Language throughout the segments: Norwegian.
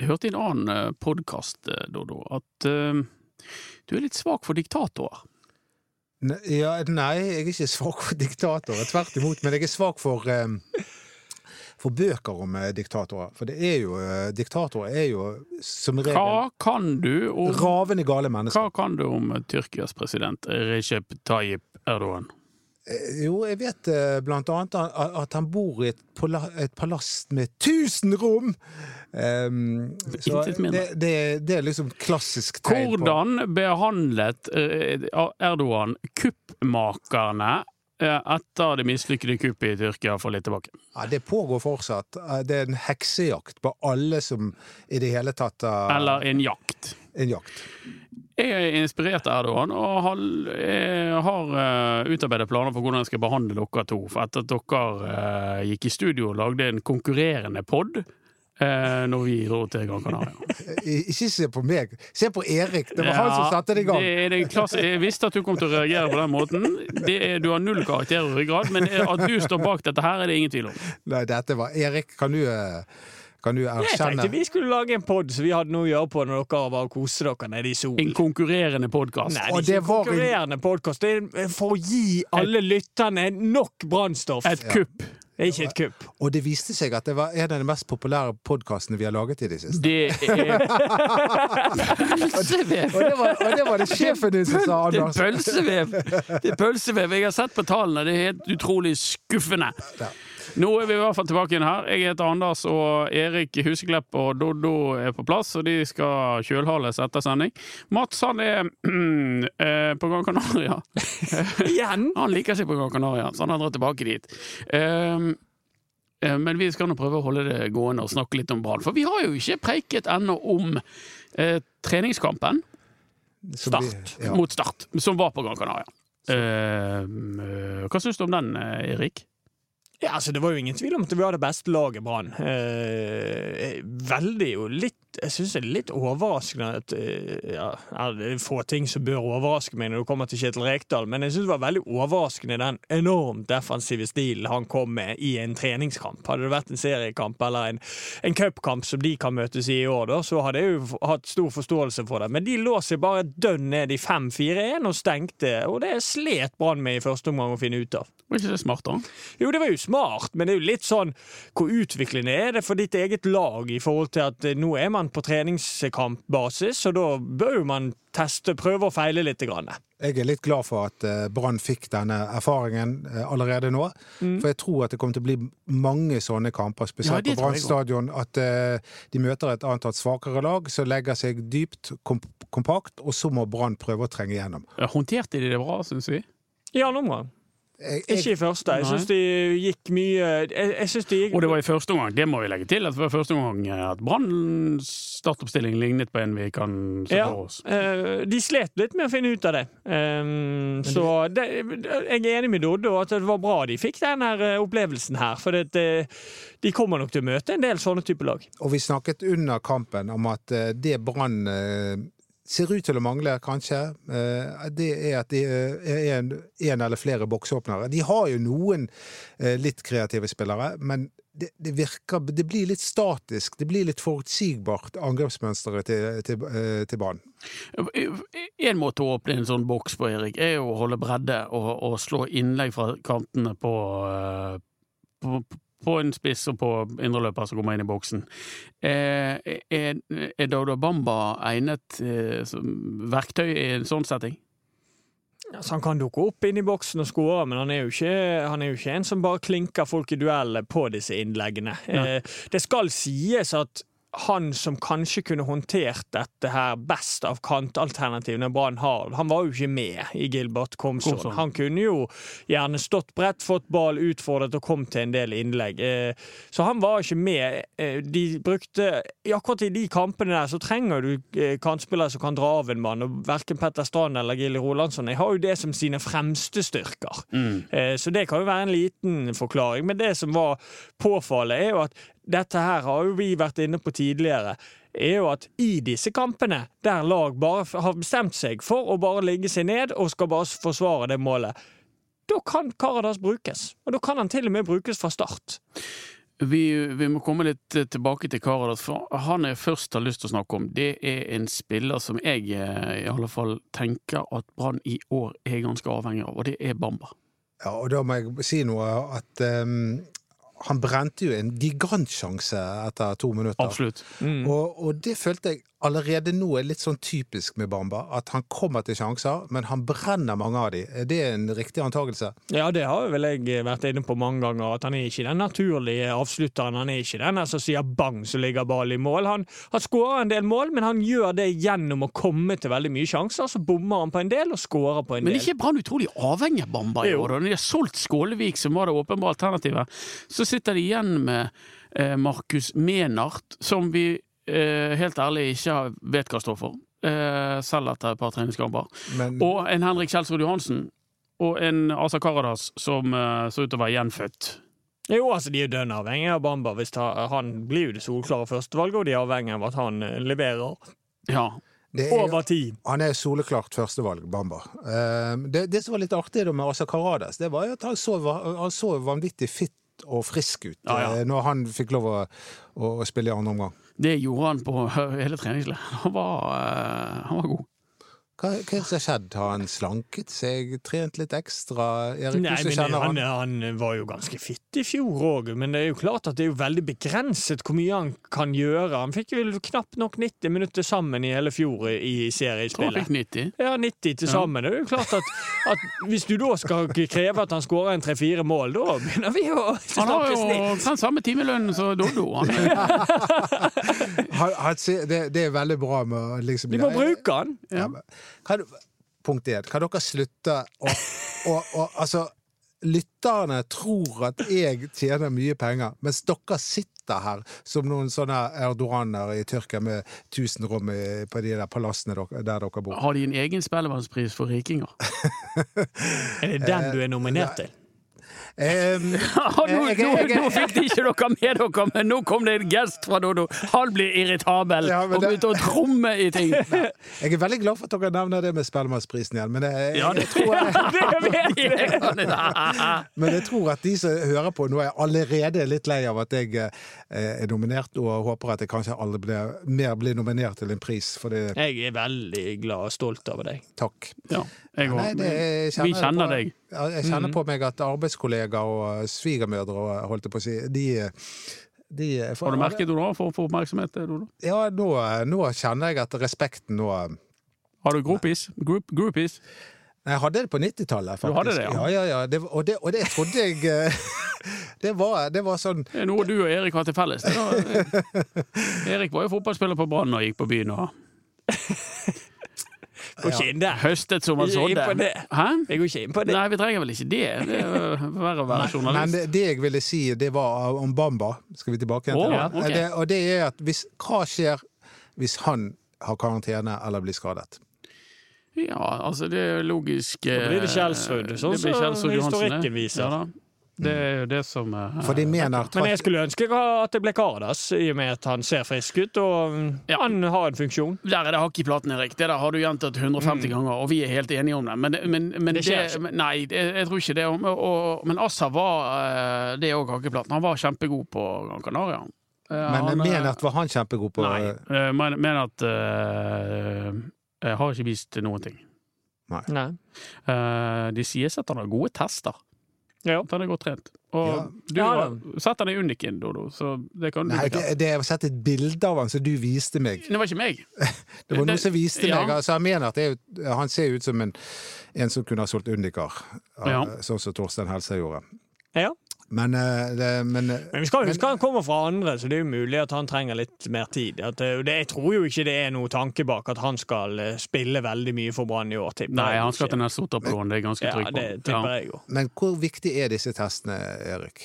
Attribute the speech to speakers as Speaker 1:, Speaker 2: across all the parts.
Speaker 1: Jeg hørte i en annen podkast, Dodo, at eh, du er litt svak for diktatorer.
Speaker 2: Ne- Ja, nei, jeg er ikke svak for diktatorer, tvert imot. Men jeg er svak for, em, for bøker om eh, diktatorer. For det er jo, eh, diktatorer er jo som regel
Speaker 1: Hva kan du om,
Speaker 2: ravende gale mennesker.
Speaker 1: hva kan du om eh, Tyrkias president eh, Recep Tayyip Erdogan?
Speaker 2: Eh, Jo, jeg vet eh, blant annet a- a- at han bor i et, pola, et palass med tusen rom! Em, så
Speaker 1: Intet mindre.
Speaker 2: det, det, det er liksom klassisk tegn på
Speaker 1: Hvordan behandlet eh, Erdogan kuppmakerne eh, etter det mislykkede kuppet i Tyrkia for litt tilbake?
Speaker 2: ja, Det pågår fortsatt. Eh, Det er en heksejakt på alle som i det hele tatt har
Speaker 1: Eller en jakt?
Speaker 2: en jakt.
Speaker 1: Jeg er inspirert av Erdogan og har, eh, har eh, utarbeidet planer for hvordan jeg skal behandle dere to. For etter at dere eh, gikk i studio og lagde en konkurrerende pod eh, når vi dro til Gran Canaria.
Speaker 2: Eh, I- Ikke se på meg, se på Erik. Det var han som
Speaker 1: Ja,
Speaker 2: satte det i gang.
Speaker 1: Det er den klasse, jeg visste at du kom til å reagere på den måten. Det er, du har null karakter og ryggrad, men at du står bak dette her, er det ingen tvil om.
Speaker 2: Nei, dette var Erik, kan du, eh, kan du
Speaker 3: Jeg
Speaker 2: erkjenne
Speaker 3: tenkte vi skulle lage en pod så vi hadde noe å gjøre på når dere var og koste dere nede i solen.
Speaker 1: En konkurrerende podkast.
Speaker 3: Nei,
Speaker 2: Og
Speaker 3: det
Speaker 2: det
Speaker 3: er ikke en
Speaker 2: var en-
Speaker 3: konkurrerende podkast. Det er for å gi alle lytterne nok brannstoff.
Speaker 1: Et kupp.
Speaker 3: Det er ikke et kupp.
Speaker 2: Og det viste seg at det var en av de mest populære podkastene vi har laget i det siste.
Speaker 1: Det er
Speaker 2: Og det var, og det, var det sjefen din som sa,
Speaker 1: Det er
Speaker 2: Anders.
Speaker 1: pølsevev! Det er pølsevev. Jeg har sett på tallene, det er helt utrolig skuffende. Nå er vi i hvert fall tilbake igjen her. Jeg heter Anders, og Erik Huseklepp og Doddo er på plass, og de skal kjølhales etter sending. Mats han er eh, på Gran Canaria.
Speaker 3: Igjen!
Speaker 1: Han liker seg på Gran Canaria, så han har dratt tilbake dit. Ehm, eh, men vi skal nå prøve å holde det gående og snakke litt om Brann. For vi har jo ikke preiket ennå om eh, treningskampen
Speaker 2: Som vi-
Speaker 1: start,
Speaker 2: ja.
Speaker 1: mot Start, som var på Gran Canaria. Ehm, eh, hva syns du om den, eh, Erik?
Speaker 3: Ja, altså Det var jo ingen tvil om at vi var det beste laget, Brann. Eh, veldig jo litt Jeg syns det er litt overraskende at eh, ja, er Det er få ting som bør overraske meg når du kommer til Kjetil Rekdal, men jeg syns det var veldig overraskende den enormt defensive stilen han kom med i en treningskamp. Hadde det vært en seriekamp eller en, en cupkamp som de kan møtes i i år, da, så hadde jeg jo f- hatt stor forståelse for det. Men de lå seg bare dønn ned i 5-4-1 og stengte, og det slet Brann med i første omgang å finne ut av.
Speaker 1: Var ikke det smart, da?
Speaker 3: Jo, det var jo smart, men det er jo litt sånn Hvor utviklende er det for ditt eget lag i forhold til at eh, nå er man på treningskampbasis, og da bør jo man teste, prøve og feile litt. Grann.
Speaker 2: Jeg er litt glad for at eh, Brann fikk denne erfaringen eh, allerede nå. For jeg tror at det kommer til å bli mange sånne kamper,
Speaker 1: Mm. Ja,
Speaker 2: spesielt
Speaker 1: det
Speaker 2: på
Speaker 1: tror
Speaker 2: Brann
Speaker 1: jeg
Speaker 2: stadion. At eh, de møter et annet svakere lag som legger seg dypt, kom kompakt, og så må Brann prøve å trenge igjennom.
Speaker 1: Eh, Håndterte de det bra, syns vi?
Speaker 3: I andre omgang.
Speaker 2: Jeg,
Speaker 3: Ikke i første. Jeg
Speaker 1: Nei.
Speaker 3: syns de gikk mye Jeg, jeg syns de gikk
Speaker 1: Og det var i første omgang. Det må vi legge til. at Det var i første omgang eh, at Branns startoppstilling lignet på en vi kan se
Speaker 3: Ja,
Speaker 1: for oss.
Speaker 3: eh, de slet litt med å finne ut av det. Ehm, så det, jeg er enig med Doddo at det var bra de fikk den her eh, opplevelsen her. For det, det, de kommer nok til å møte en del sånne type lag.
Speaker 2: Og vi snakket under kampen om at eh, det Brann eh, ser ut til å mangle, kanskje, eh, det er at de eh, er en, en eller flere boksåpnere. De har jo noen eh, litt kreative spillere, men det, det virker Det blir litt statisk. Det blir litt forutsigbart, angrepsmønsteret til, til, eh, til Brann.
Speaker 1: En måte å åpne en sånn boks på, Erik, er jo å holde bredde og, og slå innlegg fra kantene på, eh, på, på en spiss og på indreløper som kommer inn i boksen. Eh, Er, er Dodo Bamba egnet eh, som verktøy i en sånn setting?
Speaker 3: Altså, han kan dukke opp inn i boksen og skåre, men han er, jo ikke, han er jo ikke en som bare klinker folk i duell på disse innleggene.
Speaker 1: Nei.
Speaker 3: Eh, det skal sies at han som kanskje kunne håndtert dette her best av kantalternativene Brann har, han var jo ikke med i Gilbert Komson.
Speaker 1: Komson.
Speaker 3: Han kunne jo gjerne stått bredt, fått ball, utfordret og kom til en del innlegg. Eh, Så han var ikke med. Eh, De brukte i Akkurat i de kampene der så trenger du eh, kantspillere som kan dra av en mann, og verken Petter Strand eller Gilly Rolandsson Jeg har jo det som sine fremste styrker. Eh, Så det kan jo være en liten forklaring. Men det som var påfallet, er jo at dette her har jo vi vært inne på tidligere. Er jo at i disse kampene, der lag bare f- har bestemt seg for å bare ligge seg ned og skal bare s- forsvare det målet, da kan Karadas brukes. Og da kan han til og med brukes fra start.
Speaker 1: Vi, vi må komme litt eh, tilbake til Karadas, for han jeg først har lyst til å snakke om, det er en spiller som jeg eh, i alle fall tenker at Brann i år er ganske avhengig av, og det er Bamba.
Speaker 2: Ja, og da må jeg si noe at ehm, han brente jo en gigantsjanse etter to minutter.
Speaker 1: Absolutt.
Speaker 3: Mm.
Speaker 2: Og, og det følte jeg allerede nå er litt sånn typisk med Bamba. At han kommer til sjanser, men han brenner mange av de. Det er en riktig antakelse.
Speaker 3: Ja, det har vel jeg vært inne på mange ganger, at han er ikke den naturlige avslutteren. Han er ikke den der som sier bang, så ligger ballen i mål. Han, han skårer en del mål, men han gjør det gjennom å komme til veldig mye sjanser. Så bommer han på en del, og skårer på en
Speaker 1: Men
Speaker 3: del.
Speaker 1: ikke er Brann utrolig avhengig av Bamba i
Speaker 3: Jo.
Speaker 1: år? da? Når de har solgt Skålevik, som var det åpenbare alternativet, så sitter de igjen med eh, Markus Menart, som vi eh, helt ærlig ikke har- vet hva står for, eh, selv etter et par treningskamper.
Speaker 3: Mm.
Speaker 2: Men
Speaker 1: Og en Henrik Kjelsrud Johansen. Og en Asa Karadas som eh, så ut til å være gjenfødt.
Speaker 3: Jo, altså, de er dønn avhengige av Bamba. Hvis ta, han blir jo det soleklare førstevalget, og de er avhengige av at han eh, leverer
Speaker 1: Ja.
Speaker 2: det er,
Speaker 3: over tid.
Speaker 2: han er soleklart førstevalg, Bamba. Ehm, det, det som var litt artig da med Asa Karadas, det var jo at han så, va- han så vanvittig fitt og frisk ut
Speaker 1: Ja, ja.
Speaker 2: eh, når han fikk lov å, å, å spille i andre omgang.
Speaker 1: Det gjorde han på hele treningsleiren. Han, var, eh, han var god.
Speaker 2: Hva, hva er det som har skjedd? Har han slanket seg? Trent litt ekstra? Erik,
Speaker 3: Nei,
Speaker 2: du som
Speaker 3: men
Speaker 2: kjenner
Speaker 3: han,
Speaker 2: han.
Speaker 3: han var jo ganske fitt i fjor òg, men det er jo klart at det er jo veldig begrenset hvor mye han kan gjøre. Han fikk vel knapt nok 90 minutter sammen i hele fjor i- i
Speaker 1: Tror han
Speaker 3: seriespillet.
Speaker 1: fikk 90.
Speaker 3: Ja, 90 til sammen. Det er jo klart at, at hvis du da skal kreve at han skårer en tre-fire mål, da begynner vi å
Speaker 1: Han har
Speaker 3: snakke
Speaker 1: jo
Speaker 3: snitt.
Speaker 1: omtrent samme timelønn som Doddo. Han er
Speaker 2: han, han sier- det, det er veldig bra med å liksom
Speaker 3: Vi må bruke han.
Speaker 2: Ja, men kan, punkt én. Kan dere slutte å, å, å Altså, lytterne tror at jeg tjener mye penger, mens dere sitter her som noen sånne erdoraner i Tyrkia med 1000 rom i- på de der palassene dere, der dere bor.
Speaker 1: Har de en egen spellemannspris for rikinger?
Speaker 3: Er det den du er nominert til?
Speaker 2: Em,
Speaker 1: nå,
Speaker 2: Jeg- jeg-
Speaker 1: nå,
Speaker 2: jeg-
Speaker 1: nå fikk de ikke dere med dere, men nå kom det en gest fra Doddo. Han blir irritabel
Speaker 2: Ja, men
Speaker 1: og
Speaker 2: det-
Speaker 1: begynte å tromme i ting.
Speaker 2: jeg er veldig glad for at dere nevner det med Spellemannsprisen igjen, men eh, jeg,
Speaker 1: Ja,
Speaker 2: jeg,
Speaker 1: det-
Speaker 2: tror jeg,
Speaker 3: Det vet jeg!
Speaker 2: men jeg tror at de som hører på nå, er allerede litt lei av at jeg eh, er nominert, og håper at jeg kanskje aldri blir, mer blir nominert til en pris, for det
Speaker 3: Jeg er veldig glad og stolt over deg.
Speaker 2: takk.
Speaker 1: Ja, jeg
Speaker 2: Nei, det,
Speaker 1: òg.
Speaker 2: jeg
Speaker 1: Vi kjenner
Speaker 2: på,
Speaker 1: deg.
Speaker 2: Ja, Jeg kjenner på meg at arbeidskollegaer og eh, svigermødre, og holdt jeg på å si, de, de eh,
Speaker 1: Har du merket noe da, for å få oppmerksomhet? Doddo?
Speaker 2: Ja, nå, eh, nå kjenner jeg at respekten nå eh,
Speaker 1: Har du groupies? Group, groupies?
Speaker 2: Nei, Jeg hadde det på 90-tallet, faktisk.
Speaker 1: Du hadde det, ja.
Speaker 2: ja, ja, ja. Det, og, det, og det trodde jeg eh, det, var, det var sånn
Speaker 1: Det er noe du og Erik har til felles. Det var, Erik var jo fotballspiller på Brann og gikk på byen og
Speaker 3: Går ikke inn der.
Speaker 1: høstet som han sådde.
Speaker 3: Imponer-
Speaker 1: Hæ?
Speaker 3: Jeg går ikke inn på det.
Speaker 1: Nei, vi trenger vel ikke det. Det er jo verre å være
Speaker 2: Men
Speaker 1: journalist.
Speaker 2: det, det jeg ville si, det var eh, om Bamba. Skal vi tilbake igjen
Speaker 1: Å,
Speaker 2: til det?
Speaker 1: ok.
Speaker 2: det? Og det er at hvis, hva skjer hvis han har karantene eller blir skadet?
Speaker 1: Ja, altså det er logisk
Speaker 3: Da blir det
Speaker 1: eh,
Speaker 3: Kjelsrud, sånn
Speaker 1: det blir
Speaker 3: som
Speaker 1: Kjelsrud Johansen, det.
Speaker 3: historikken viser.
Speaker 1: Ja, da. det er jo det som eh,
Speaker 2: For de mener
Speaker 3: Men jeg skulle ønske at det ble Karadas, i og med at han ser frisk ut og
Speaker 1: Ja.
Speaker 3: han har en funksjon.
Speaker 1: Der er det hakk i platen, Erik. Det der har du gjentatt 150 ganger, og vi er helt enige om det. Men, men, men
Speaker 3: Mm. Det
Speaker 1: det,
Speaker 3: skjer ikke.
Speaker 1: men- Nei, det, jeg tror ikke det. Og, og, men Assa var eh, det òg, hakk i platen. Han var kjempegod på Gran Canaria. Eh,
Speaker 2: Men
Speaker 1: han, eh,
Speaker 2: mener at var han kjempegod på
Speaker 1: Nei, eh, men, men at eh, Jeg har ikke vist noen ting.
Speaker 3: Nei.
Speaker 1: Eh, de sies at han har gode tester.
Speaker 3: Ja.
Speaker 1: At han er godt trent. Og
Speaker 2: Ja.
Speaker 1: du
Speaker 3: Ja,
Speaker 1: har sett han i Uniken, Dodo, så det kan du
Speaker 2: Nei, det,
Speaker 1: bekrefte.
Speaker 2: det, jeg har sett et bilde av han som du viste meg.
Speaker 1: Det var ikke meg.
Speaker 2: Det var
Speaker 1: Det-
Speaker 2: noen som viste
Speaker 1: ja.
Speaker 2: meg. Altså, jeg mener at det er, jo- han ser jo ut som en, en som kunne ha solgt Undicar,
Speaker 1: Ja.
Speaker 2: sånn som Torstein Helsa gjorde.
Speaker 3: Ja.
Speaker 2: Men, eh, det, men eh,
Speaker 3: Men vi skal huske han kommer fra andre, så det er jo mulig at han trenger litt mer tid. At eh, det, jeg tror jo ikke det er noe tanke bak at han skal eh, spille veldig mye for Brann i år. tipper
Speaker 1: Nei,
Speaker 3: jeg
Speaker 1: han skal
Speaker 3: ikke.
Speaker 1: til neste Otterpolon, det er jeg ganske
Speaker 3: Ja,
Speaker 1: trygg på.
Speaker 3: det tipper jeg jo.
Speaker 2: men hvor viktig er disse testene, Erik?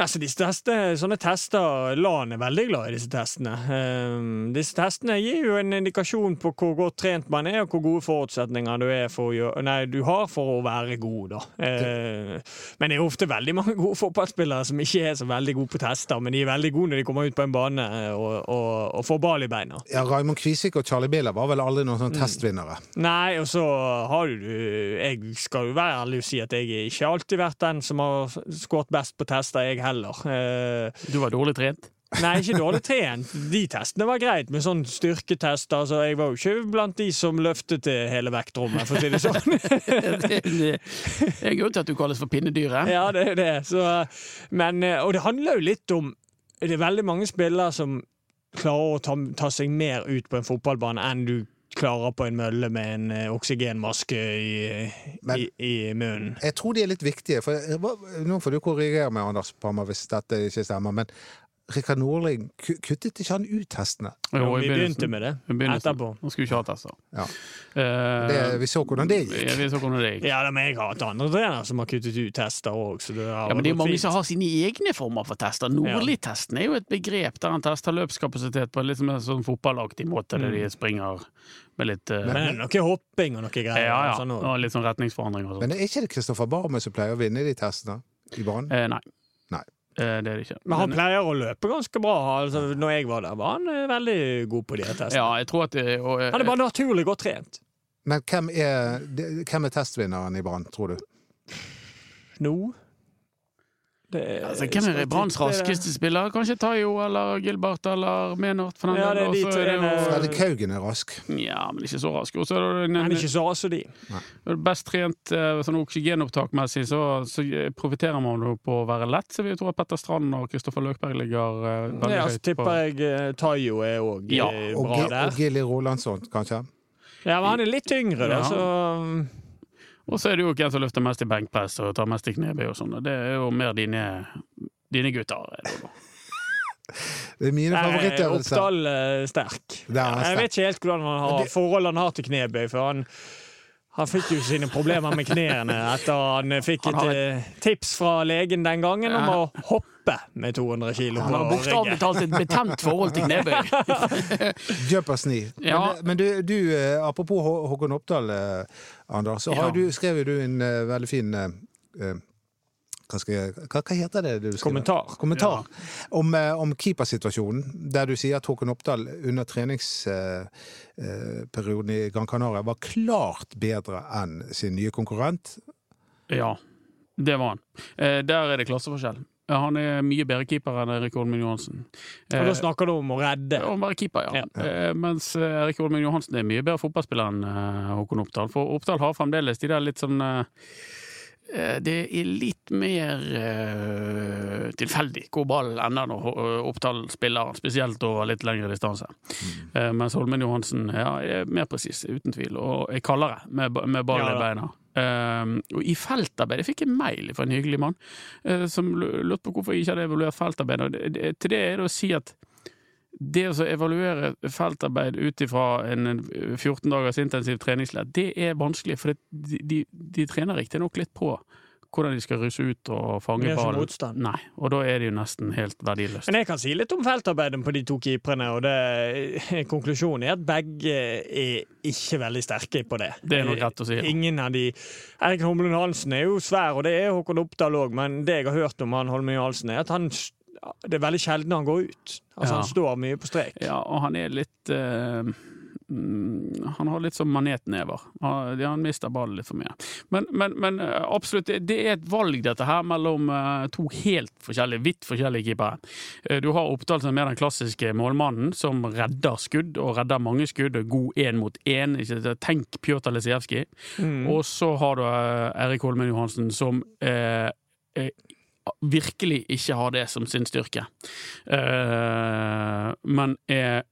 Speaker 3: Altså, disse testene, sånne tester, LAN er veldig glad i disse testene. Ehm, disse testene gir jo en indikasjon på hvor godt trent man er, og hvor gode forutsetninger du, er for å gjøre, nei, du har for å være god. Da. Ehm, men det er jo ofte veldig mange gode fotballspillere som ikke er så veldig gode på tester, men de er veldig gode når de kommer ut på en bane og, og, og får ball i beina.
Speaker 2: Ja, Raymond Kvisvik og Charlie Biller var vel aldri noen
Speaker 1: Mm.
Speaker 2: sånne testvinnere.
Speaker 3: Nei, og så har du Jeg skal jo være ærlig og si at jeg har ikke alltid vært den som har skåret best på tester, jeg heller. Eh,
Speaker 1: Du var dårlig trent.
Speaker 3: Nei, ikke dårlig trent. De testene var greit, men sånn styrketest altså, Jeg var jo ikke blant de som løftet til hele vektrommet, for å si det sånn.
Speaker 1: Det eh, det er en grunn til at du kalles for pinnedyret.
Speaker 3: Ja, det er det. Så, men, eh, og det handler jo litt om Det er veldig mange spillere som klarer å ta, ta seg mer ut på en fotballbane enn du klarer på en mølle med en eh, oksygenmaske i,
Speaker 2: Men-
Speaker 3: i, i munnen.
Speaker 2: Jeg tror de er litt viktige. For, eh, hva- nå får du korrigere meg, Anders Pammer, hvis dette ikke stemmer. Men Rikard Nordling, ku- kuttet ikke han ut testene?
Speaker 1: Jo, i
Speaker 3: vi
Speaker 1: begynnelsen.
Speaker 3: begynte med det
Speaker 1: I begynnelsen.
Speaker 3: etterpå.
Speaker 1: Han skulle ikke ha tester.
Speaker 2: Ja.
Speaker 1: Eh,
Speaker 2: Det, vi så hvordan det gikk.
Speaker 1: ja, vi så hvordan det gikk.
Speaker 3: Ja, da, men jeg har hatt andre trenere som har kuttet ut tester òg, så det har
Speaker 1: Ja, men det er jo
Speaker 3: gått
Speaker 1: mange
Speaker 3: fint.
Speaker 1: som har sine egne former for tester. Nordli-testen er jo et begrep der han tester løpskapasitet på en litt mer sånn fotballaktig måte, der de springer med litt eh,
Speaker 3: Mm. Men det er noe hopping og noe greier.
Speaker 1: ja, ja,
Speaker 3: og sånn også.
Speaker 1: og litt sånn retningsforandring og sånn.
Speaker 2: Men er ikke det Kristoffer Barmen som pleier å vinne de testene? I Brann?
Speaker 1: Eh, nei.
Speaker 2: Nei.
Speaker 1: Eh, det er det ikke.
Speaker 3: Men han
Speaker 1: Men-
Speaker 3: pleier å løpe ganske bra. Altså, når jeg var der, var han eh, veldig god på de her testene.
Speaker 1: ja, jeg tror at det, og, eh,
Speaker 3: Han er bare naturlig godt trent.
Speaker 2: Men hvem er, de- hvem er testvinneren i Brann, tror du?
Speaker 3: Nå det,
Speaker 1: altså, Hvem er Branns
Speaker 3: eh,
Speaker 1: raskeste spiller? Kanskje Tayo eller Gilbert eller Menart? For den
Speaker 3: Ja,
Speaker 1: del,
Speaker 3: det er
Speaker 1: og
Speaker 3: de
Speaker 1: så
Speaker 3: tre,
Speaker 1: det jo-
Speaker 3: eh,
Speaker 2: Fredrik Haugen er rask.
Speaker 1: Ja, men ikke så rask. Og så er det
Speaker 3: Han
Speaker 1: en,
Speaker 3: er ikke så rask som de.
Speaker 1: best trent eh, sånn oksygenopptakmessig, så, så profitterer man jo på å være lett. Så vi tror at Petter Strand og Kristoffer Løkberg ligger eh, veldig
Speaker 3: Ja, så
Speaker 1: høyt
Speaker 3: tipper
Speaker 1: på
Speaker 3: jeg eh, Tayo er òg
Speaker 1: Ja,
Speaker 2: Og,
Speaker 3: bra
Speaker 2: Gi- og
Speaker 3: der.
Speaker 2: Gilly Rolandsson, kanskje?
Speaker 3: Ja, men han er litt yngre, da,
Speaker 1: Ja.
Speaker 3: så um,
Speaker 1: Og så er det jo hvem som løfter mest i benkpress og tar mest i knebøy og sånn. og Det er jo mer dine, dine gutter. eh, er det jo da.
Speaker 2: Det er mine
Speaker 3: Nei,
Speaker 2: favorittøvelser.
Speaker 3: Oppdal eh, sterk.
Speaker 2: Det er han
Speaker 3: Jeg
Speaker 2: sterk.
Speaker 3: vet ikke helt hvordan han
Speaker 2: Men
Speaker 3: har
Speaker 2: det-
Speaker 3: forhold han har til knebøy, for han han fikk jo sine problemer med knærne etter han fikk
Speaker 1: Han
Speaker 3: et
Speaker 1: har
Speaker 3: eh, tips fra legen den gangen om å hoppe med 200 kilo
Speaker 1: Han har
Speaker 3: på
Speaker 1: bokstavelig
Speaker 3: ryggen.
Speaker 1: talt et betent forhold til knebøy.
Speaker 2: Jumper sni.
Speaker 1: Ja.
Speaker 2: Men, men du, du, eh, apropos Hå- Håkon Oppdal, eh, Anders, så har
Speaker 1: Ja.
Speaker 2: du, skrev jo du en eh, veldig fin eh, eh, hva, skal jeg, hva, hva heter det du skriver?
Speaker 3: Kommentar.
Speaker 2: Kommentar om, eh, om keepersituasjonen, der du sier at Håkon Oppdal under treningsperioden i Gran Canaria var klart bedre enn sin nye konkurrent.
Speaker 1: Ja, det var han. Eh, der er det klasseforskjell. Eh, Han er mye bedre keeper enn Erik Holmen Johansen.
Speaker 3: Og da
Speaker 1: Eh,
Speaker 3: snakker du om å redde.
Speaker 1: om å være keeper, ja.
Speaker 3: Ja.
Speaker 1: Eh, mens eh, Erik Holmen Johansen er mye bedre fotballspiller enn eh, Håkon Oppdal. For Oppdal har fremdeles de der litt sånn eh, eh, Det er litt mer eh, tilfeldig hvor ballen ender når Hå- eh, Oppdal spiller, spesielt over litt lengre distanse. Eh, mens Holmen Johansen ja, er mer presis, uten tvil, og er kaldere med, ba- med ball
Speaker 3: Ja
Speaker 1: i
Speaker 3: da.
Speaker 1: beina. Eh, og I feltarbeidet fikk jeg mail fra en hyggelig mann eh, som lu- lurte på hvorfor jeg ikke hadde evaluert feltarbeidet. Og det- det- Til det er det å si at det å så evaluere feltarbeid ut ifra en 14 dagers intensiv treningsledd, det er vanskelig, for det, de, de, de trener riktignok litt på hvordan de skal ruse ut og
Speaker 3: Det
Speaker 1: fange
Speaker 3: er ikke
Speaker 1: ballen.
Speaker 3: motstand.
Speaker 1: Nei, og da er det jo nesten helt verdiløst.
Speaker 3: Men jeg kan si litt om feltarbeidet på de to keeperne, og det, eh, konklusjonen er at begge er ikke veldig sterke på det.
Speaker 1: Det er nok rett å si, ja.
Speaker 3: Ingen av de Erik Holmlund Hansen er jo svær, og det er Håkon Oppdal òg, men det jeg har hørt om han Holmlund Hansen, er at han det er veldig sjelden han går ut. Altså
Speaker 1: Ja.
Speaker 3: Han står mye på strek.
Speaker 1: Ja, og han er litt eh, mm, Han har litt som manetnever. Han, ja, han mister ballen litt for mye. Men, men, men eh, absolutt, det, det er et valg dette her mellom eh, to helt forskjellige, vidt forskjellige keepere. Eh, Du har Oppdal som er den klassiske målmannen, som redder skudd, og redder mange skudd, og er god én mot én. Ikke sant? Tenk Pjotr Lisijevskij.
Speaker 3: Mm.
Speaker 1: Og så har du eh, Erik Holmen Johansen, som eh, eh, virkelig ikke har det som sin styrke. Eh, men er eh,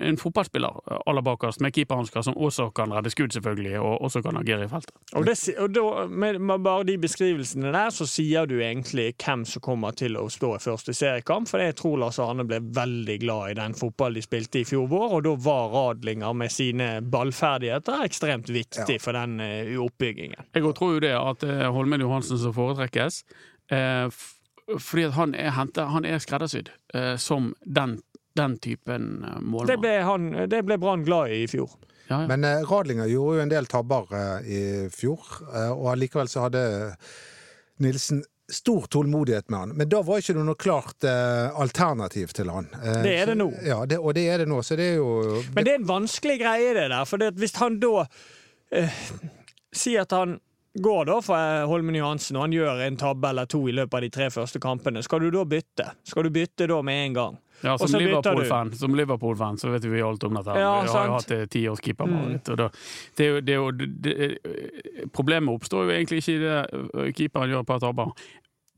Speaker 1: en fotballspiller eh, aller bakerst, med keeperhansker, som også kan redde skudd, selvfølgelig, og også kan agere i feltet.
Speaker 3: Og, det, si- og da, med, med bare de beskrivelsene der, så sier du egentlig hvem som kommer til å stå i første seriekamp. For jeg tror Lars Arne ble veldig glad i den fotballen de spilte i fjor vår, og da var Radlinger med sine ballferdigheter ekstremt viktig for den eh, oppbyggingen.
Speaker 1: Jeg tror jo det at det er Holmen Johansen som foretrekkes, eh, f- fordi at han er, hentet, han er skreddersydd eh, som den, den typen eh,
Speaker 3: Det
Speaker 1: målmann.
Speaker 3: ble, han, det ble Brann glad i i fjor.
Speaker 1: Ja, ja.
Speaker 2: Men eh, Radlinger gjorde jo en del tabber eh, i fjor, eh, og allikevel så hadde Nilsen stor tålmodighet med han, men da var ikke det noe klart eh, alternativ til han. Eh,
Speaker 3: Det er det nå.
Speaker 2: Ja, det, og det er det nå, så det er jo
Speaker 3: Men det er en vanskelig greie, det der. For det at hvis han da eh, sier at han går da for eh, Holmen Johansen, og han gjør en tabbe eller to i løpet av de tre første kampene, skal du da bytte? Skal du bytte da med en gang?
Speaker 1: Ja,
Speaker 3: Og
Speaker 1: som
Speaker 3: så bytter du.
Speaker 1: Liverpool-fan som Liverpool-fan så vet vi alt om dette. her.
Speaker 3: Ja,
Speaker 1: vi har
Speaker 3: sant. Mm.
Speaker 1: jo hatt eh, ti års keepermareritt. og da- Det, er jo- det, er jo- det, det, problemet oppstår jo egentlig ikke i det ø, keeperen gjør et par tabber.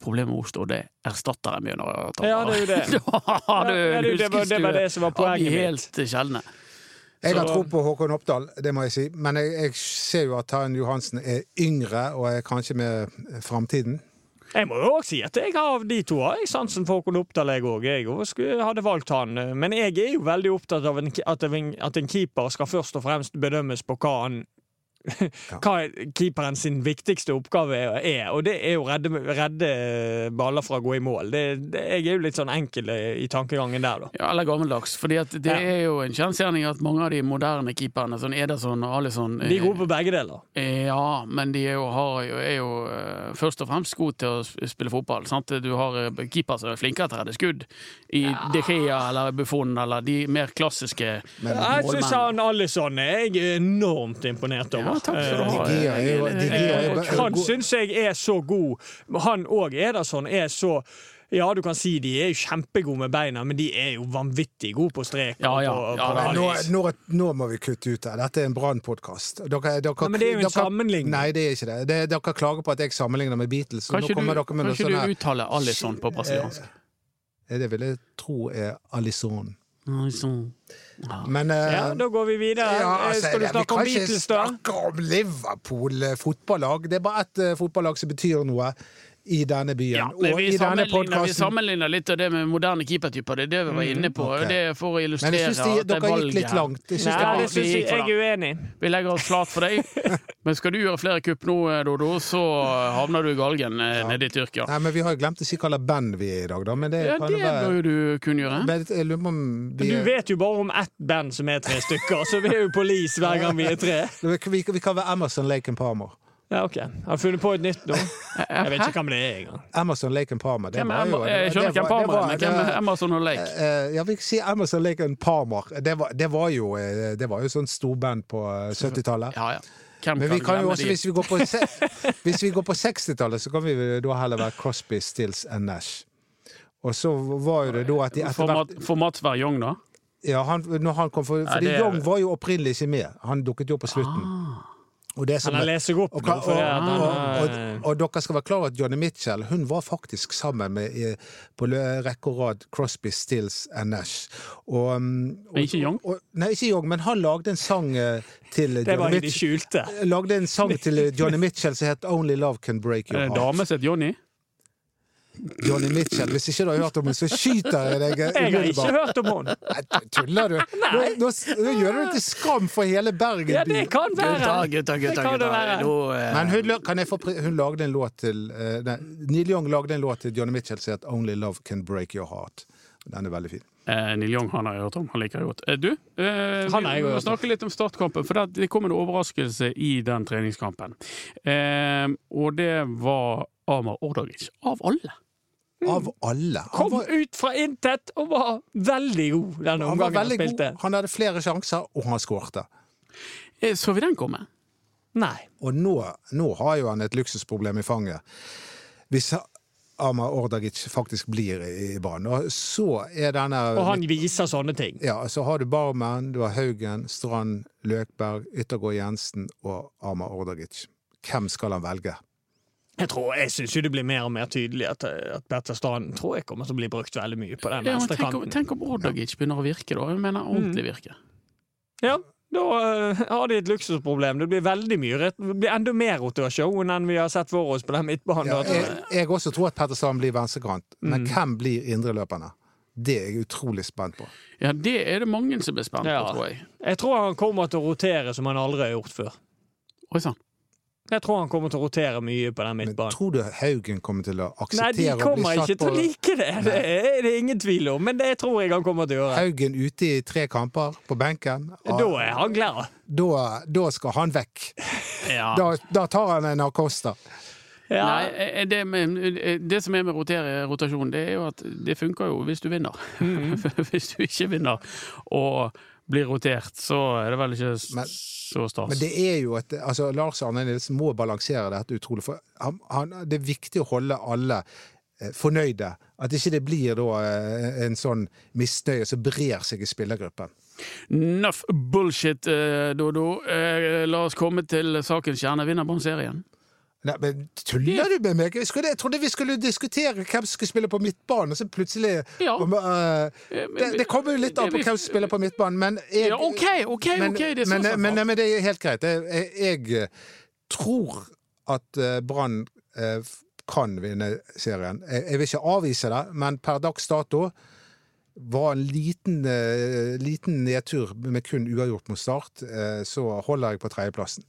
Speaker 1: Problemet oppstår det erstatteren begynner å gjøre tabber.
Speaker 3: Ja, det er jo det.
Speaker 1: da har du
Speaker 3: Ja,
Speaker 1: en
Speaker 3: det, det, var, det var det
Speaker 1: huskestue
Speaker 3: som var
Speaker 1: av de
Speaker 3: poenget mitt.
Speaker 1: helt sjeldne.
Speaker 2: Jeg har
Speaker 3: Så-
Speaker 2: tro på Håkon Oppdal, det må jeg si. Men jeg, jeg ser jo at han Johansen er yngre og er kanskje med framtiden.
Speaker 3: Jeg må jo også si at jeg har av de to har jeg sansen for Håkon Oppdal, jeg òg. Jeg også skulle- hadde valgt han. eh, Men jeg er jo veldig opptatt av en, at, en, at en keeper skal først og fremst bedømmes på hva han hva keeperen sin viktigste oppgave er, og det er jo å redde, redde baller fra å gå i mål. Det, det, jeg er jo litt sånn enkel eh, i tankegangen der, da.
Speaker 1: Ja, eller gammeldags. fordi at det
Speaker 3: Ja.
Speaker 1: er jo en kjensgjerning at mange av de moderne keeperne, sånn Ederson og Alison
Speaker 3: De er gode på begge deler.
Speaker 1: Ja, men de er jo, har, jo- er jo eh, først og fremst gode til å sp- spille fotball. Sant? Du har eh, keeper som er flinkere til å redde skudd i De Gea eller Buffon eller de mer klassiske
Speaker 3: Jeg syns han Alison er jeg enormt imponert over.
Speaker 1: Ja, takk skal du
Speaker 3: Eh,
Speaker 1: ha.
Speaker 2: De Gea er jo- De Gea er
Speaker 3: Eh,
Speaker 2: jo-
Speaker 1: Eh,
Speaker 3: han syns jeg er så god. Han og Ederson er så ja, du kan si de er jo kjempegode med beina, men de er jo vanvittig gode på strek.
Speaker 1: Ja,
Speaker 3: og
Speaker 1: ja.
Speaker 3: på-
Speaker 1: Ja, da.
Speaker 3: på
Speaker 2: Men
Speaker 3: alle
Speaker 2: nå,
Speaker 3: vis.
Speaker 2: nå, nå må vi kutte ut det. Dette er en Brann-podkast. Dere- dere-
Speaker 3: Ja, men det er jo en
Speaker 2: dere-
Speaker 3: sammenligning.
Speaker 2: Nei, det er ikke det. det. Dere klager på at jeg sammenligner med Beatles.
Speaker 1: Kan
Speaker 2: Nå
Speaker 1: ikke
Speaker 2: kommer
Speaker 1: du,
Speaker 2: dere med
Speaker 1: kan
Speaker 2: noe
Speaker 1: ikke
Speaker 2: sånn
Speaker 1: du
Speaker 2: her.
Speaker 1: uttale Alison på brasiliansk?
Speaker 2: Det vil jeg tro er Alison.
Speaker 1: Alisson. Ja.
Speaker 2: Men eh,
Speaker 3: ja, da går vi videre.
Speaker 2: ja,
Speaker 3: Eh,
Speaker 2: altså,
Speaker 3: Skal du
Speaker 2: vi
Speaker 3: snakke om
Speaker 2: kan ikke
Speaker 3: Beatles, da?
Speaker 2: snakke om Liverpool eh, fotballag. Det er bare ett eh, fotballag som betyr noe i denne byen.
Speaker 1: Ja, men
Speaker 2: og
Speaker 1: vi
Speaker 2: i denne
Speaker 1: sammenligner, vi
Speaker 2: podcasten. Mm,
Speaker 1: sammenligner litt av det med moderne keepertyper, det er det vi var inne på.
Speaker 2: ok.
Speaker 1: og Det er for å
Speaker 2: Men
Speaker 1: illustrere
Speaker 2: jeg syns de,
Speaker 1: at det er
Speaker 2: dere gikk
Speaker 1: valget
Speaker 2: litt
Speaker 1: her.
Speaker 2: langt. Jeg synes
Speaker 3: Nei,
Speaker 1: var-
Speaker 3: det syns
Speaker 1: vi
Speaker 3: jeg
Speaker 1: gikk for
Speaker 3: jeg er uenig i.
Speaker 1: Vi legger oss flat for deg. Men skal du gjøre flere kupp nå, Dodo, så havner du i galgen eh, nede i Tyrkia.
Speaker 2: Nei, men Vi har jo glemt å si hva slags band vi er i dag, da. Men det
Speaker 1: Ja,
Speaker 2: kan
Speaker 1: det
Speaker 2: jo være
Speaker 1: bør jo du kunngjøre.
Speaker 2: Men Jeg lurer på om vi,
Speaker 3: Du vet jo bare om ett band som er tre stykker, så vi er jo police hver gang vi er tre.
Speaker 2: vi, vi kan være Emerson Lake and Palmer.
Speaker 3: Ja, ok. Har du funnet på et nytt nå? Jeg vet ikke hvem det er engang.
Speaker 2: Emerson Lake and Palmer. Det
Speaker 1: Hvem
Speaker 2: var
Speaker 1: er
Speaker 2: jo
Speaker 1: Emma- Jeg skjønner
Speaker 2: det
Speaker 1: hvem
Speaker 2: var- det
Speaker 1: Palmer er,
Speaker 2: var-
Speaker 1: men
Speaker 2: det-
Speaker 1: hvem er Amazon og Lake?
Speaker 2: eh, ja, vi sier Emerson Lake and Palmer. Det var, det var jo eh, Det var jo sånn storband på eh, 70-tallet.
Speaker 1: Ja, ja. Hvem
Speaker 2: Men vi kan jo
Speaker 1: glemme
Speaker 2: også,
Speaker 1: de?
Speaker 2: hvis vi går på, se- hvis vi går på 60-tallet, så kan vi vel da heller være Crosby, Stills and Nash. Og så var jo det da at de etter
Speaker 1: For,
Speaker 2: hvert
Speaker 1: Mat, for Mats Verjong, da?
Speaker 2: ja, han, når han kom for, Fordi
Speaker 1: det er-
Speaker 2: Young var jo opprinnelig ikke med. Han dukket jo opp på slutten. Og, det som
Speaker 3: Ah. Han har
Speaker 2: er-
Speaker 3: lest seg opp
Speaker 2: og,
Speaker 3: nå.
Speaker 2: og,
Speaker 3: fordi at han
Speaker 2: og, og,
Speaker 3: har-
Speaker 2: og dere skal være klar over at Johnny Mitchell hun var faktisk sammen med eh, på lø- rekke og rad Crosby, Stills and Nash. Og, um, og,
Speaker 1: Men ikke Young?
Speaker 2: og, nei, ikke Young, men han lagde en sang eh, til
Speaker 3: Det var
Speaker 2: Johnny
Speaker 3: i det
Speaker 2: Mitchell.
Speaker 3: skjulte.
Speaker 2: Jeg lagde en sang til Johnny Mitchell som het Only Love Can Break
Speaker 1: Er det
Speaker 2: Your
Speaker 3: Eh,
Speaker 1: en
Speaker 2: Heart.
Speaker 1: eh, dame som heter Johnny?
Speaker 2: Johnny Mitchell, Hvis ikke du har hørt om henne, så skyter jeg deg
Speaker 3: Jeg har ikke
Speaker 2: umiddelbart.
Speaker 3: hørt om henne.
Speaker 2: Nei, Tuller du? Nå, nå, nå gjør du det til skam for hele Bergen
Speaker 3: Ja,
Speaker 2: by.
Speaker 3: det kan
Speaker 2: ah,
Speaker 3: være. Det kan det være.
Speaker 2: Men hun, la- kan jeg få, pri- hun lagde en låt til eh, nei, Neil Young lagde en låt til Johnny Mitchell som het Only Love Can Break Your Heart. Den er veldig fin.
Speaker 1: Eh, Neil Young han har jeg hørt om. Han liker jeg godt. Eh, du, eh,
Speaker 3: Han har
Speaker 1: vi
Speaker 3: jeg
Speaker 1: må
Speaker 3: hørt om.
Speaker 1: snakke litt om startkampen, for det, det kom en overraskelse i den treningskampen. Eh, og det var Amar Ordagic. Av alle!
Speaker 2: Av alle. Han
Speaker 3: Mm. Kom
Speaker 2: var,
Speaker 3: ut fra intet og var veldig god
Speaker 2: han
Speaker 3: den
Speaker 2: var
Speaker 3: omgangen han
Speaker 2: veldig god.
Speaker 3: spilte.
Speaker 2: Han hadde flere sjanser, og han skårte.
Speaker 1: Eh, så vi den komme?
Speaker 3: Nei.
Speaker 2: Og nå, nå har jo han et luksusproblem i fanget. Hvis Amar Ordagic faktisk blir i i banen. Og så er denne
Speaker 3: Og han viser sånne ting.
Speaker 2: ja, så har du Barmen, du har Haugen, Strand, Løkberg, Yttergård Jensen og Amar Ordagic. Hvem skal han velge?
Speaker 3: Jeg tror, jeg syns det blir mer og mer tydelig at, eh, at Petter Strand tror jeg kommer til å bli brukt veldig mye på den
Speaker 1: Ja, men
Speaker 3: venstre
Speaker 1: tenk, om,
Speaker 3: kanten.
Speaker 1: tenk om Ordagic begynner å virke, da. Jeg mener
Speaker 2: Mm.
Speaker 1: ordentlig virke.
Speaker 3: Ja, da eh, har de et luksusproblem. Det blir veldig mye rett- Det blir enda mer rotasjon enn vi har sett for oss på den midtbanen.
Speaker 2: Ja,
Speaker 3: da, Mm. tror jeg.
Speaker 2: jeg, jeg også tror at Petter Strand blir venstrekant, men hvem blir indreløperne? Det er jeg utrolig spent på.
Speaker 1: Ja, det er det mange som blir spent på,
Speaker 3: Ja.
Speaker 1: tror jeg.
Speaker 3: Jeg tror han kommer til å rotere som han aldri har gjort før.
Speaker 1: Oi sann.
Speaker 3: Jeg tror han kommer til å rotere mye på den
Speaker 2: Men
Speaker 3: midtbanen.
Speaker 2: tror du Haugen kommer til å
Speaker 3: Nei, de
Speaker 2: akseptere å bli
Speaker 3: kommer
Speaker 2: satt
Speaker 3: ikke
Speaker 2: på
Speaker 3: til å like det. Det er det ingen tvil om, men det tror jeg han kommer til å gjøre.
Speaker 2: Haugen ute i tre kamper på benken?
Speaker 3: Da er han glad.
Speaker 2: da, da skal han vekk.
Speaker 1: Ja.
Speaker 2: Da, da tar han en Acosta.
Speaker 3: Ja.
Speaker 1: Nei, eh, det, med, eh, det som er med rotere, rotasjon, det er jo at det funker jo hvis du vinner.
Speaker 2: Mhm.
Speaker 1: hvis du ikke vinner og blir rotert, så er det vel ikke s-
Speaker 2: Men-
Speaker 1: så stas.
Speaker 2: Men det er jo et, altså Lars Arne Nilsen må balansere dette utrolig. for han, han, Det er viktig å holde alle eh, fornøyde. At ikke det blir da eh, en sånn misnøye som brer seg i spillergruppen.
Speaker 1: Nuff bullshit, eh, Dodo. Eh, la oss komme til sakens kjerne. Vinner Brann-serien?
Speaker 2: Nei, men Tuller du med meg? Jeg, skulle, jeg trodde vi skulle diskutere hvem som skulle spille på midtbanen, og så plutselig
Speaker 1: Ja.
Speaker 2: om, eh,
Speaker 1: Eh, men-
Speaker 2: det, det kommer jo litt an på hvem som spiller på midtbanen, men jeg,
Speaker 1: Ja, OK, OK,
Speaker 2: men,
Speaker 1: ok, det er sånn
Speaker 2: men,
Speaker 1: sett bra.
Speaker 2: men, nei, men det er helt greit. Jeg, jeg, jeg eh, tror at eh, Brann eh, f- kan vinne serien. Jeg, jeg vil ikke avvise det, men per dags dato var en liten, eh, liten nedtur med kun uavgjort mot Start, eh, så holder jeg på tredjeplassen.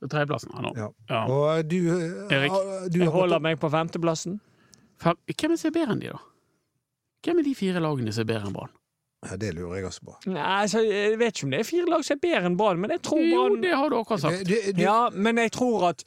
Speaker 1: Tredjeplassen her nå.
Speaker 2: Ja.
Speaker 1: Ja.
Speaker 2: Og du, eh,
Speaker 1: Erik,
Speaker 2: har- du
Speaker 3: Jeg
Speaker 2: har gått
Speaker 3: holder
Speaker 2: opp-
Speaker 3: meg på femteplassen.
Speaker 1: Fem- Hvem er som er bedre enn de, da? Hvem er de fire lagene som er bedre enn Brann?
Speaker 2: Ja, det lurer jeg også på.
Speaker 3: Nei, altså, jeg vet ikke om det er fire lag som er bedre enn Brann, men jeg tror
Speaker 1: Jo,
Speaker 3: Brann
Speaker 1: det har du akkurat
Speaker 2: Du,
Speaker 1: sagt.
Speaker 2: Eh, du, du,
Speaker 3: Ja, men jeg tror at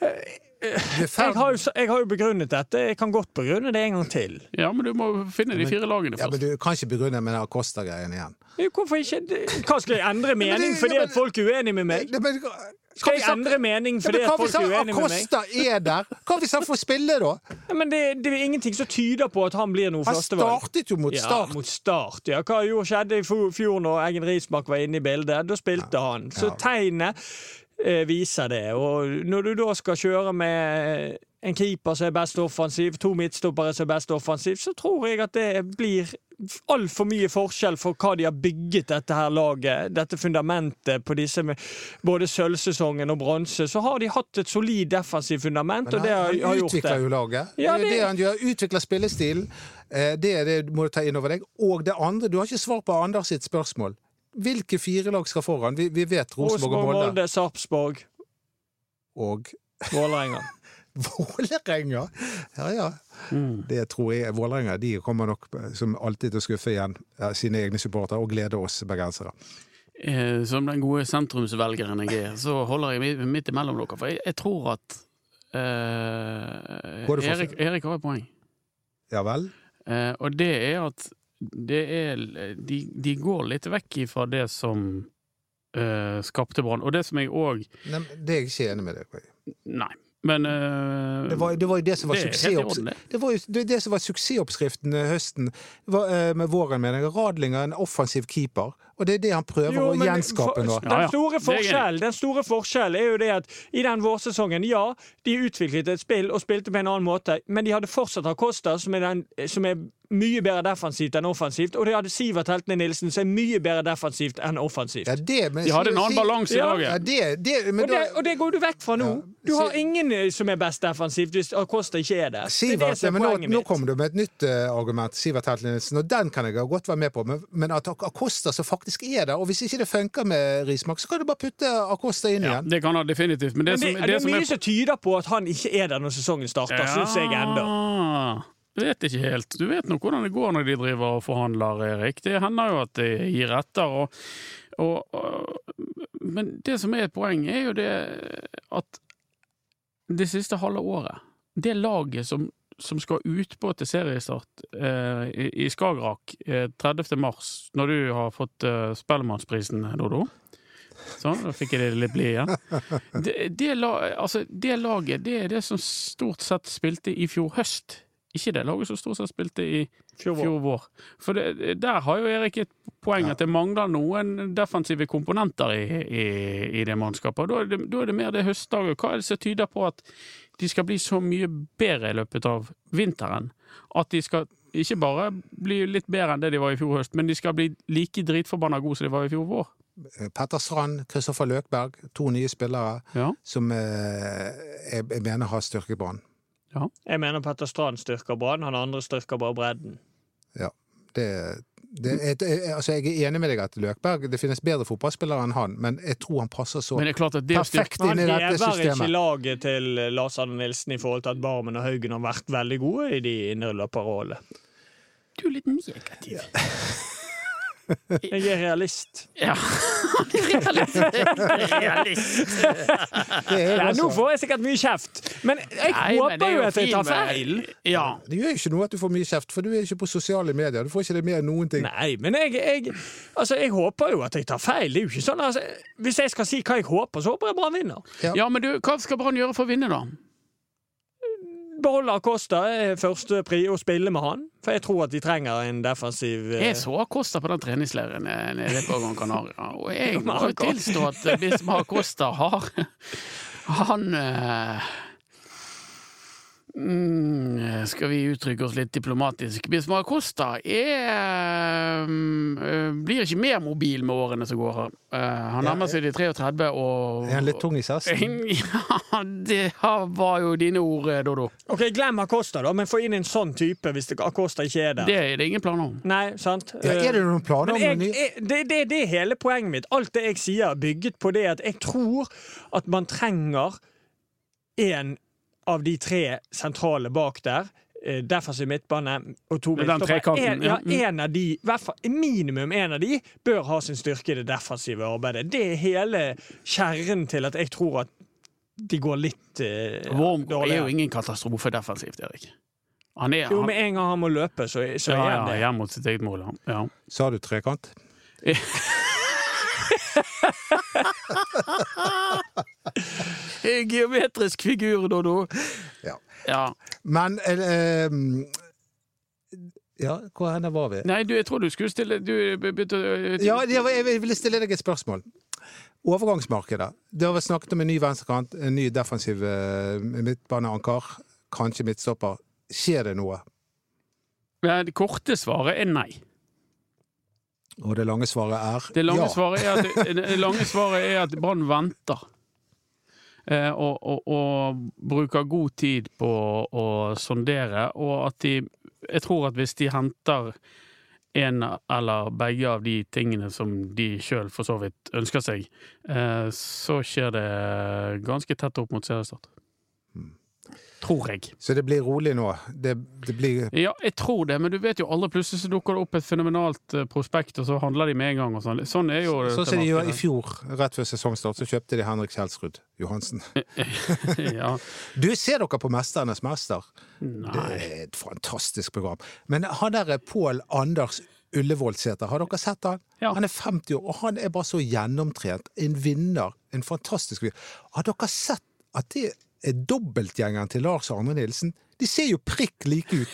Speaker 2: du er
Speaker 3: jeg
Speaker 2: ferd-
Speaker 3: har, jo, s- jeg har jo begrunnet dette. Jeg kan godt begrunne det en gang til.
Speaker 1: Ja, men du må finne de
Speaker 2: Men-
Speaker 1: fire lagene
Speaker 2: ja,
Speaker 1: først.
Speaker 2: men du kan ikke begrunne med den Acosta-greien igjen.
Speaker 3: Jo, Hvorfor ikke? Det- Hva skal jeg endre mening
Speaker 2: det-
Speaker 3: fordi
Speaker 2: ja,
Speaker 3: at
Speaker 2: men-
Speaker 3: folk er uenige med meg?
Speaker 2: Det- men- kan
Speaker 3: Skal jeg
Speaker 2: vi-
Speaker 3: endre mening
Speaker 2: Ja,
Speaker 3: fordi
Speaker 2: men
Speaker 3: at
Speaker 2: hva
Speaker 3: folk
Speaker 2: hvis
Speaker 3: er
Speaker 2: han
Speaker 3: uenige med meg?
Speaker 2: Acosta er der? Hva hvis han får spille, da?
Speaker 3: Ja, Men det, det er ingenting som tyder på at han blir noe
Speaker 2: Han
Speaker 3: førstevalg.
Speaker 2: startet jo mot
Speaker 3: Ja,
Speaker 2: Start.
Speaker 3: mot start, ja. Hva jo skjedde i fjo- fjor når Eggen Rismark var inne i bildet? Da spilte han. Så tegnet eh, viser det. Og når du da skal kjøre med en keeper som er best offensiv, to midtstoppere som er best offensiv, så tror jeg at det blir altfor mye forskjell for hva de har bygget dette her laget, dette fundamentet på disse med både sølvsesongen og bronse. Så har de hatt et solid defensivt fundament,
Speaker 2: Men
Speaker 3: og det
Speaker 2: han,
Speaker 3: har, har
Speaker 2: han
Speaker 3: gjort det.
Speaker 2: utvikler jo laget.
Speaker 3: Ja,
Speaker 2: det er
Speaker 3: det-
Speaker 2: det han gjør. Utvikler spillestilen. Eh, Det er det du må ta inn over deg. Og det andre, du har ikke svar på Anders sitt spørsmål. Hvilke fire lag skal foran? Vi, vi vet Rosenborg og
Speaker 3: Rosenborg,
Speaker 2: Molde.
Speaker 3: Molde, Sarpsborg,
Speaker 2: Og
Speaker 3: Vålerenga.
Speaker 2: Vålerenga! Ja ja.
Speaker 3: Mm.
Speaker 2: Det tror jeg Vålerenga de kommer nok eh, som alltid til å skuffe igjen eh, sine egne supportere, og glede oss bergensere.
Speaker 1: Eh, Som den gode sentrumsvelgeren jeg er, så holder jeg mi- midt imellom dere. For jeg, jeg tror at eh,
Speaker 2: Går det for-
Speaker 1: Erik, Erik har et poeng.
Speaker 2: Ja vel?
Speaker 1: Eh, og det er at det er, de, de går litt vekk ifra det som eh, skapte brann. Og det som jeg òg
Speaker 2: Nei, men det er jeg ikke enig med deg i.
Speaker 1: Nei, men eh,
Speaker 2: Det var, det var jo det som var
Speaker 1: Det er helt i orden,
Speaker 2: suksessoppskriften. Det.
Speaker 1: det.
Speaker 2: var jo det, det som var suksessoppskriften eh, høsten det var, eh, med våren, mener jeg. Radlinger er en offensiv keeper, og det er det han prøver å
Speaker 3: Jo, men
Speaker 2: gjenskape nå.
Speaker 3: for-
Speaker 1: Ja, ja.
Speaker 3: Den
Speaker 1: Det er jeg
Speaker 3: store,
Speaker 1: enig i.
Speaker 3: forskjellen, den store forskjellen er jo det at i den vårsesongen, ja, de utviklet et spill og spilte på en annen måte, men de hadde fortsatt Acosta, som er, den, som er mye bedre defensivt enn offensivt, og de hadde Sivert Heltene Nilsen, som er mye bedre defensivt enn offensivt.
Speaker 2: Ja, det, men,
Speaker 1: De hadde en annen
Speaker 2: si-
Speaker 1: balanse i
Speaker 3: Ja.
Speaker 2: Ja,
Speaker 1: laget.
Speaker 2: det, det, men
Speaker 3: Og det,
Speaker 2: da,
Speaker 3: og det går du vekk fra nå.
Speaker 2: Ja,
Speaker 3: Du har
Speaker 2: si-
Speaker 3: ingen eh, som er best defensivt hvis Acosta ikke er det. Det er det
Speaker 2: Sivert,
Speaker 3: som er
Speaker 2: men nå,
Speaker 3: poenget
Speaker 2: nå
Speaker 3: mitt.
Speaker 2: kommer du med et nytt eh, argument, Sivert Heltlinsen, og den kan jeg godt være med på, men, men at Acosta som faktisk er der, og hvis ikke det funker med Rismark, så kan du bare putte Acosta inn
Speaker 1: Ja,
Speaker 2: igjen.
Speaker 1: det kan han definitivt. Men det,
Speaker 3: Men det,
Speaker 1: som,
Speaker 3: det, er
Speaker 1: som
Speaker 3: mye som tyder på at han ikke er der når sesongen starter, syns jeg enda.
Speaker 1: Ja, Vet ikke helt. Du vet nå hvordan det går når de driver og forhandler, Erik. Det hender jo at de gir etter. Og, og, og, men det som er et poeng, er jo det at det siste halve året Det laget som, som skal utpå til seriestart eh, i, i Skagerrak eh, 30. mars, når du har fått eh, Spellemannsprisen, Dodo Sånn, da fikk jeg det litt blid igjen. Det, det, la- altså, det laget det er det som stort sett spilte i fjor høst. Ikke det laget som stort sett spilte i
Speaker 3: Fjor vår.
Speaker 1: fjor vår. For det, der har jo Erik et poeng at det mangler noen defensive komponenter i, i, i det mannskapet. Og Da er det, da er det mer det høstlaget. Hva er det som tyder på at de skal bli så mye bedre i løpet av vinteren? At de skal ikke bare bli litt bedre enn det de var i fjor høst, men de skal bli like dritforbanna gode som de var i fjor vår.
Speaker 2: Petter Strand, Kristoffer Løkberg, to nye spillere
Speaker 1: Ja.
Speaker 2: som eh, jeg, jeg mener har styrket Brann.
Speaker 3: Jeg mener Petter Strand styrker Brann, han andre styrker bare bredden.
Speaker 2: Det, det, jeg, jeg- altså jeg er enig med deg at Løkberg Det finnes bedre fotballspillere enn han, men jeg tror han passer så
Speaker 1: Men det er klart at det å styrke
Speaker 2: perfekt
Speaker 3: Men
Speaker 2: inn i
Speaker 3: Han
Speaker 2: dette
Speaker 3: hever ikke
Speaker 2: systemet.
Speaker 3: laget til Lars Arne Nilsen i forhold til at Barmen og Haugen har vært veldig gode i de indreløperrollene.
Speaker 1: Du er litt negativ.
Speaker 3: Jeg er realist.
Speaker 1: Ja. Realist. Realist.
Speaker 2: Det er altså- jeg
Speaker 3: Ja, nå
Speaker 2: også.
Speaker 3: får jeg sikkert mye kjeft, men jeg
Speaker 1: Nei, men det
Speaker 3: håper
Speaker 1: er
Speaker 3: jo at jeg
Speaker 1: fin
Speaker 3: tar
Speaker 1: med-
Speaker 3: feil.
Speaker 1: Ja.
Speaker 2: Det gjør jo ikke noe at du får mye kjeft, for du er ikke på sosiale medier. Du får ikke det med noen ting.
Speaker 3: Nei, men jeg, jeg, altså, jeg håper jo at jeg tar feil. Det er jo ikke sånn, altså, Hvis jeg skal si hva jeg håper, så håper jeg Brann vinner.
Speaker 1: ja, men du, hva skal Brann gjøre for å vinne, da?
Speaker 3: Beholde Acosta er første pri og spille med han, for jeg tror at de trenger en defensiv eh,
Speaker 1: Jeg så Acosta på den treningsleiren eh, nede på Gran Canaria, og jeg må jo
Speaker 3: Marco.
Speaker 1: tilstå at eh, hvis Acosta har Han eh, mm, Skal vi uttrykke oss litt diplomatisk? Hvis Acosta er mm, eh, Blir ikke mer mobil med årene som går. Eh, Han
Speaker 2: Ja,
Speaker 1: nærmer seg de 33 og
Speaker 2: Er han litt tung i sessen?
Speaker 1: Ja, det var jo dine ord, eh, Dodo.
Speaker 3: Ok, glem Acosta, da, men få inn en sånn type hvis det- Acosta ikke er der.
Speaker 1: Det er det ingen planer om.
Speaker 3: Nei, sant?
Speaker 2: Ja, er det noen planer
Speaker 3: Men
Speaker 2: om
Speaker 3: jeg,
Speaker 2: en ny
Speaker 3: jeg, det, det, det er hele poenget mitt. Alt det jeg sier, er bygget på det at jeg tror at man trenger en av de tre sentrale bak der. eh, Defensiv midtbane og to
Speaker 1: Med den
Speaker 3: midtstoppere.
Speaker 1: trekanten,
Speaker 3: En, ja,
Speaker 1: ja. mm.
Speaker 3: en av de, i hvert fall minimum en av de, bør ha sin styrke i det defensive arbeidet. Det er hele kjernen til at jeg tror at de går litt eh,
Speaker 1: Worm er jo
Speaker 3: dårligere.
Speaker 1: ingen katastrofe defensivt, Erik. Han er,
Speaker 3: Jo,
Speaker 1: han,
Speaker 3: med en gang han må løpe, så, så er
Speaker 1: ja,
Speaker 3: han
Speaker 1: ja,
Speaker 3: det.
Speaker 1: hjem mot sitt eget mål, ja. ja.
Speaker 2: Sa du trekant?
Speaker 1: Geometrisk figur, Dodo.
Speaker 2: Ja.
Speaker 1: Ja.
Speaker 2: Men eh, eh, Ja, hvor henne var vi?
Speaker 1: Nei, du, jeg tror du skulle stille Du begynte å-
Speaker 2: Ja, det var- jeg ville stille deg et spørsmål. Overgangsmarkedet. Det har vært snakket om en ny venstrekant, en ny defensiv eh, midtbaneanker, kanskje midtstopper. Skjer det noe?
Speaker 1: Ja, Det korte svaret er nei.
Speaker 2: Og det lange svaret er
Speaker 1: Det lange
Speaker 2: ja.
Speaker 1: svaret er at, det lange svaret er at Brann venter. Eh, og, og, og bruker god tid på å sondere, og at de Jeg tror at hvis de henter en eller begge av de tingene som de sjøl for så vidt ønsker seg, eh, så skjer det ganske tett opp mot seriestart.
Speaker 2: Hmm.
Speaker 1: Tror jeg.
Speaker 2: Så det blir rolig nå. Det, det blir
Speaker 1: Ja, jeg tror det, men du vet jo alle plutselig så dukker det opp et fenomenalt eh, prospekt, og så handler de med en gang og sånn. Sånn er jo
Speaker 2: Sånn
Speaker 1: dette
Speaker 2: som de gjorde
Speaker 1: markedet.
Speaker 2: i fjor, rett før sesongstart, så kjøpte de Henrik Kjelsrud Johansen.
Speaker 1: ja.
Speaker 2: Du, ser dere på 'Mesternes mester'? Det
Speaker 1: Nei.
Speaker 2: er et fantastisk program. Men han der eh, Pål Anders Ullevålseter, har dere sett han?
Speaker 1: Ja.
Speaker 2: Han er 50 år, og han er bare så gjennomtrent. En vinner. En fantastisk vinner. Har dere sett at det er dobbeltgjengeren til Lars Arne Nilsen? De ser jo prikk like ut.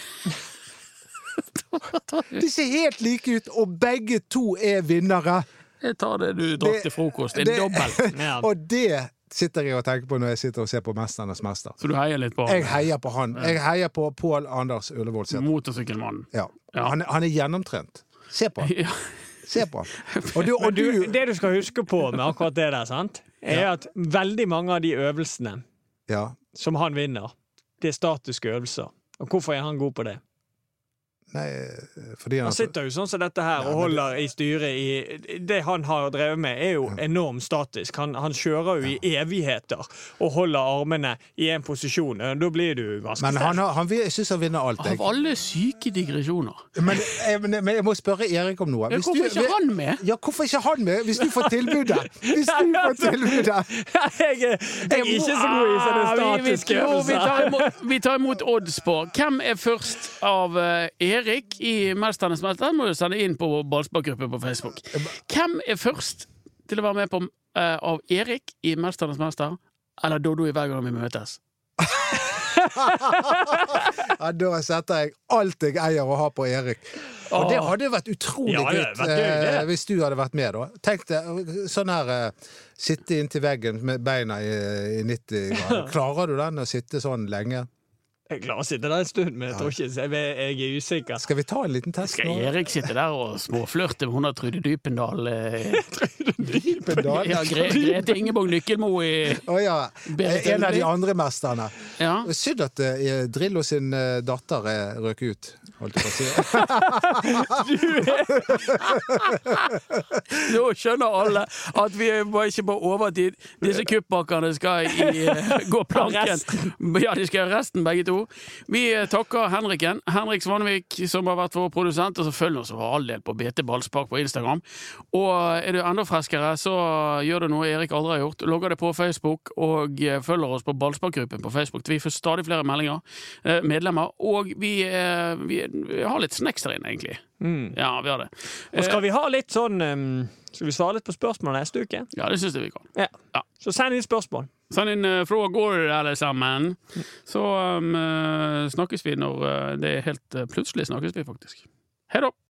Speaker 2: De ser helt like ut, og begge to er vinnere.
Speaker 1: Jeg tar det du drakk
Speaker 2: Det-
Speaker 1: til frokost. En
Speaker 2: det-
Speaker 1: dobbel.
Speaker 3: Ja.
Speaker 2: Og det sitter jeg og tenker på når jeg sitter og ser på 'Mesternes mester'.
Speaker 1: Så du heier litt på
Speaker 2: Jeg heier på han. Jeg heier på Pål Anders Ullevålseter.
Speaker 1: motorsykkelmannen.
Speaker 2: Ja.
Speaker 1: Ja.
Speaker 2: Han, han er gjennomtrent. Se på han.
Speaker 1: Ja.
Speaker 2: Se på han. Og du, og
Speaker 3: Men du,
Speaker 2: du
Speaker 3: det du skal huske på med akkurat det der, sant? er at veldig mange av de øvelsene
Speaker 2: Ja.
Speaker 3: som han vinner, det er statiske øvelser. Og hvorfor er han god på det?
Speaker 2: Nei, fordi han
Speaker 3: Han sitter jo sånn som dette her og holder i styret i Det han har drevet med, er jo enormt statisk. Han, han kjører jo i evigheter og holder armene i én posisjon. og Da blir du ganske
Speaker 2: Men
Speaker 3: sterk.
Speaker 2: han, har- han, vil- jeg syns han vinner alt, jeg.
Speaker 1: Av alle syke digresjoner.
Speaker 2: Men, jeg. Men men jeg må spørre Erik om noe.
Speaker 1: Ja,
Speaker 2: Hvis
Speaker 1: hvorfor
Speaker 2: du-
Speaker 1: ikke han med?
Speaker 2: Ja, hvorfor ikke han med, hvis du får tilbudet? Hvis du får tilbudet!
Speaker 3: Jeg, er- jeg er ikke så god i sånne
Speaker 1: Ah, vi- vi-
Speaker 3: statiske
Speaker 1: jo, vi tar
Speaker 3: øvelser.
Speaker 1: imot- Vi tar imot odds på hvem er først av eh, Erik i Mesternes mester. Den må du sende inn på ballsparkgruppe på Facebook. Hvem er først til å være med på eh, av Erik i Mesternes mester eller Dodo i Hver gang vi møtes?
Speaker 2: Ja, da setter jeg alt jeg eier og har på Erik. Og det hadde vært utrolig
Speaker 3: Ah. Ja, det
Speaker 2: gøy
Speaker 3: hadde vært gøy, det.
Speaker 2: eh, hvis du hadde vært med, da. Tenk deg sånn her eh, Sitte inntil veggen med beina i, i 90 grader. Klarer du den å sitte sånn lenge?
Speaker 3: Jeg klarer å sitte der en stund, men jeg tror ikke jeg, jeg er usikker.
Speaker 2: Skal vi ta en liten test
Speaker 1: Skal
Speaker 2: nå?
Speaker 1: Erik sitte der og småflørte med hun av Trude Dypendal? eh,
Speaker 2: Pendal?
Speaker 1: Ja, Gre Grete Ingeborg Lykkelmo i
Speaker 2: Å ja. eh,
Speaker 1: Berit
Speaker 2: En av de
Speaker 1: Elvik.
Speaker 2: andre mesterne.
Speaker 1: Ja.
Speaker 2: Synd at eh, Drillo sin eh, datter eh, røk ut, holdt jeg på å si.
Speaker 1: Nå skjønner alle at vi er bare ikke på eh, overtid. Disse kuppbakkene skal i, gå planken. Ja, de skal gjøre resten, begge to. studio. Vi eh, takker Henriken. Henrik Svanevik, som har vært vår produsent. Og så følg oss for all del på BT Ballspark på Instagram. Og eh, er du enda freskere, så gjør du noe Erik aldri har gjort. Logger det på Facebook, og eh, følger oss på ballsparkgruppen på Facebook. Vi får stadig flere meldinger, eh, medlemmer. Og vi, eh, vi, vi har litt snacks der inne, egentlig.
Speaker 3: Mm.
Speaker 1: Ja, vi har det.
Speaker 3: Og skal vi ha litt sånn ehm, Skal vi svare litt på spørsmål neste uke?
Speaker 1: Eh, Ja, det syns jeg vi kan.
Speaker 3: Ja.
Speaker 1: Ja.
Speaker 3: Så send inn spørsmål.
Speaker 1: Send inn eh, frågor, alle sammen. Så um, eh, snakkes vi når eh, det er helt eh, plutselig. snakkes vi faktisk. Hei da!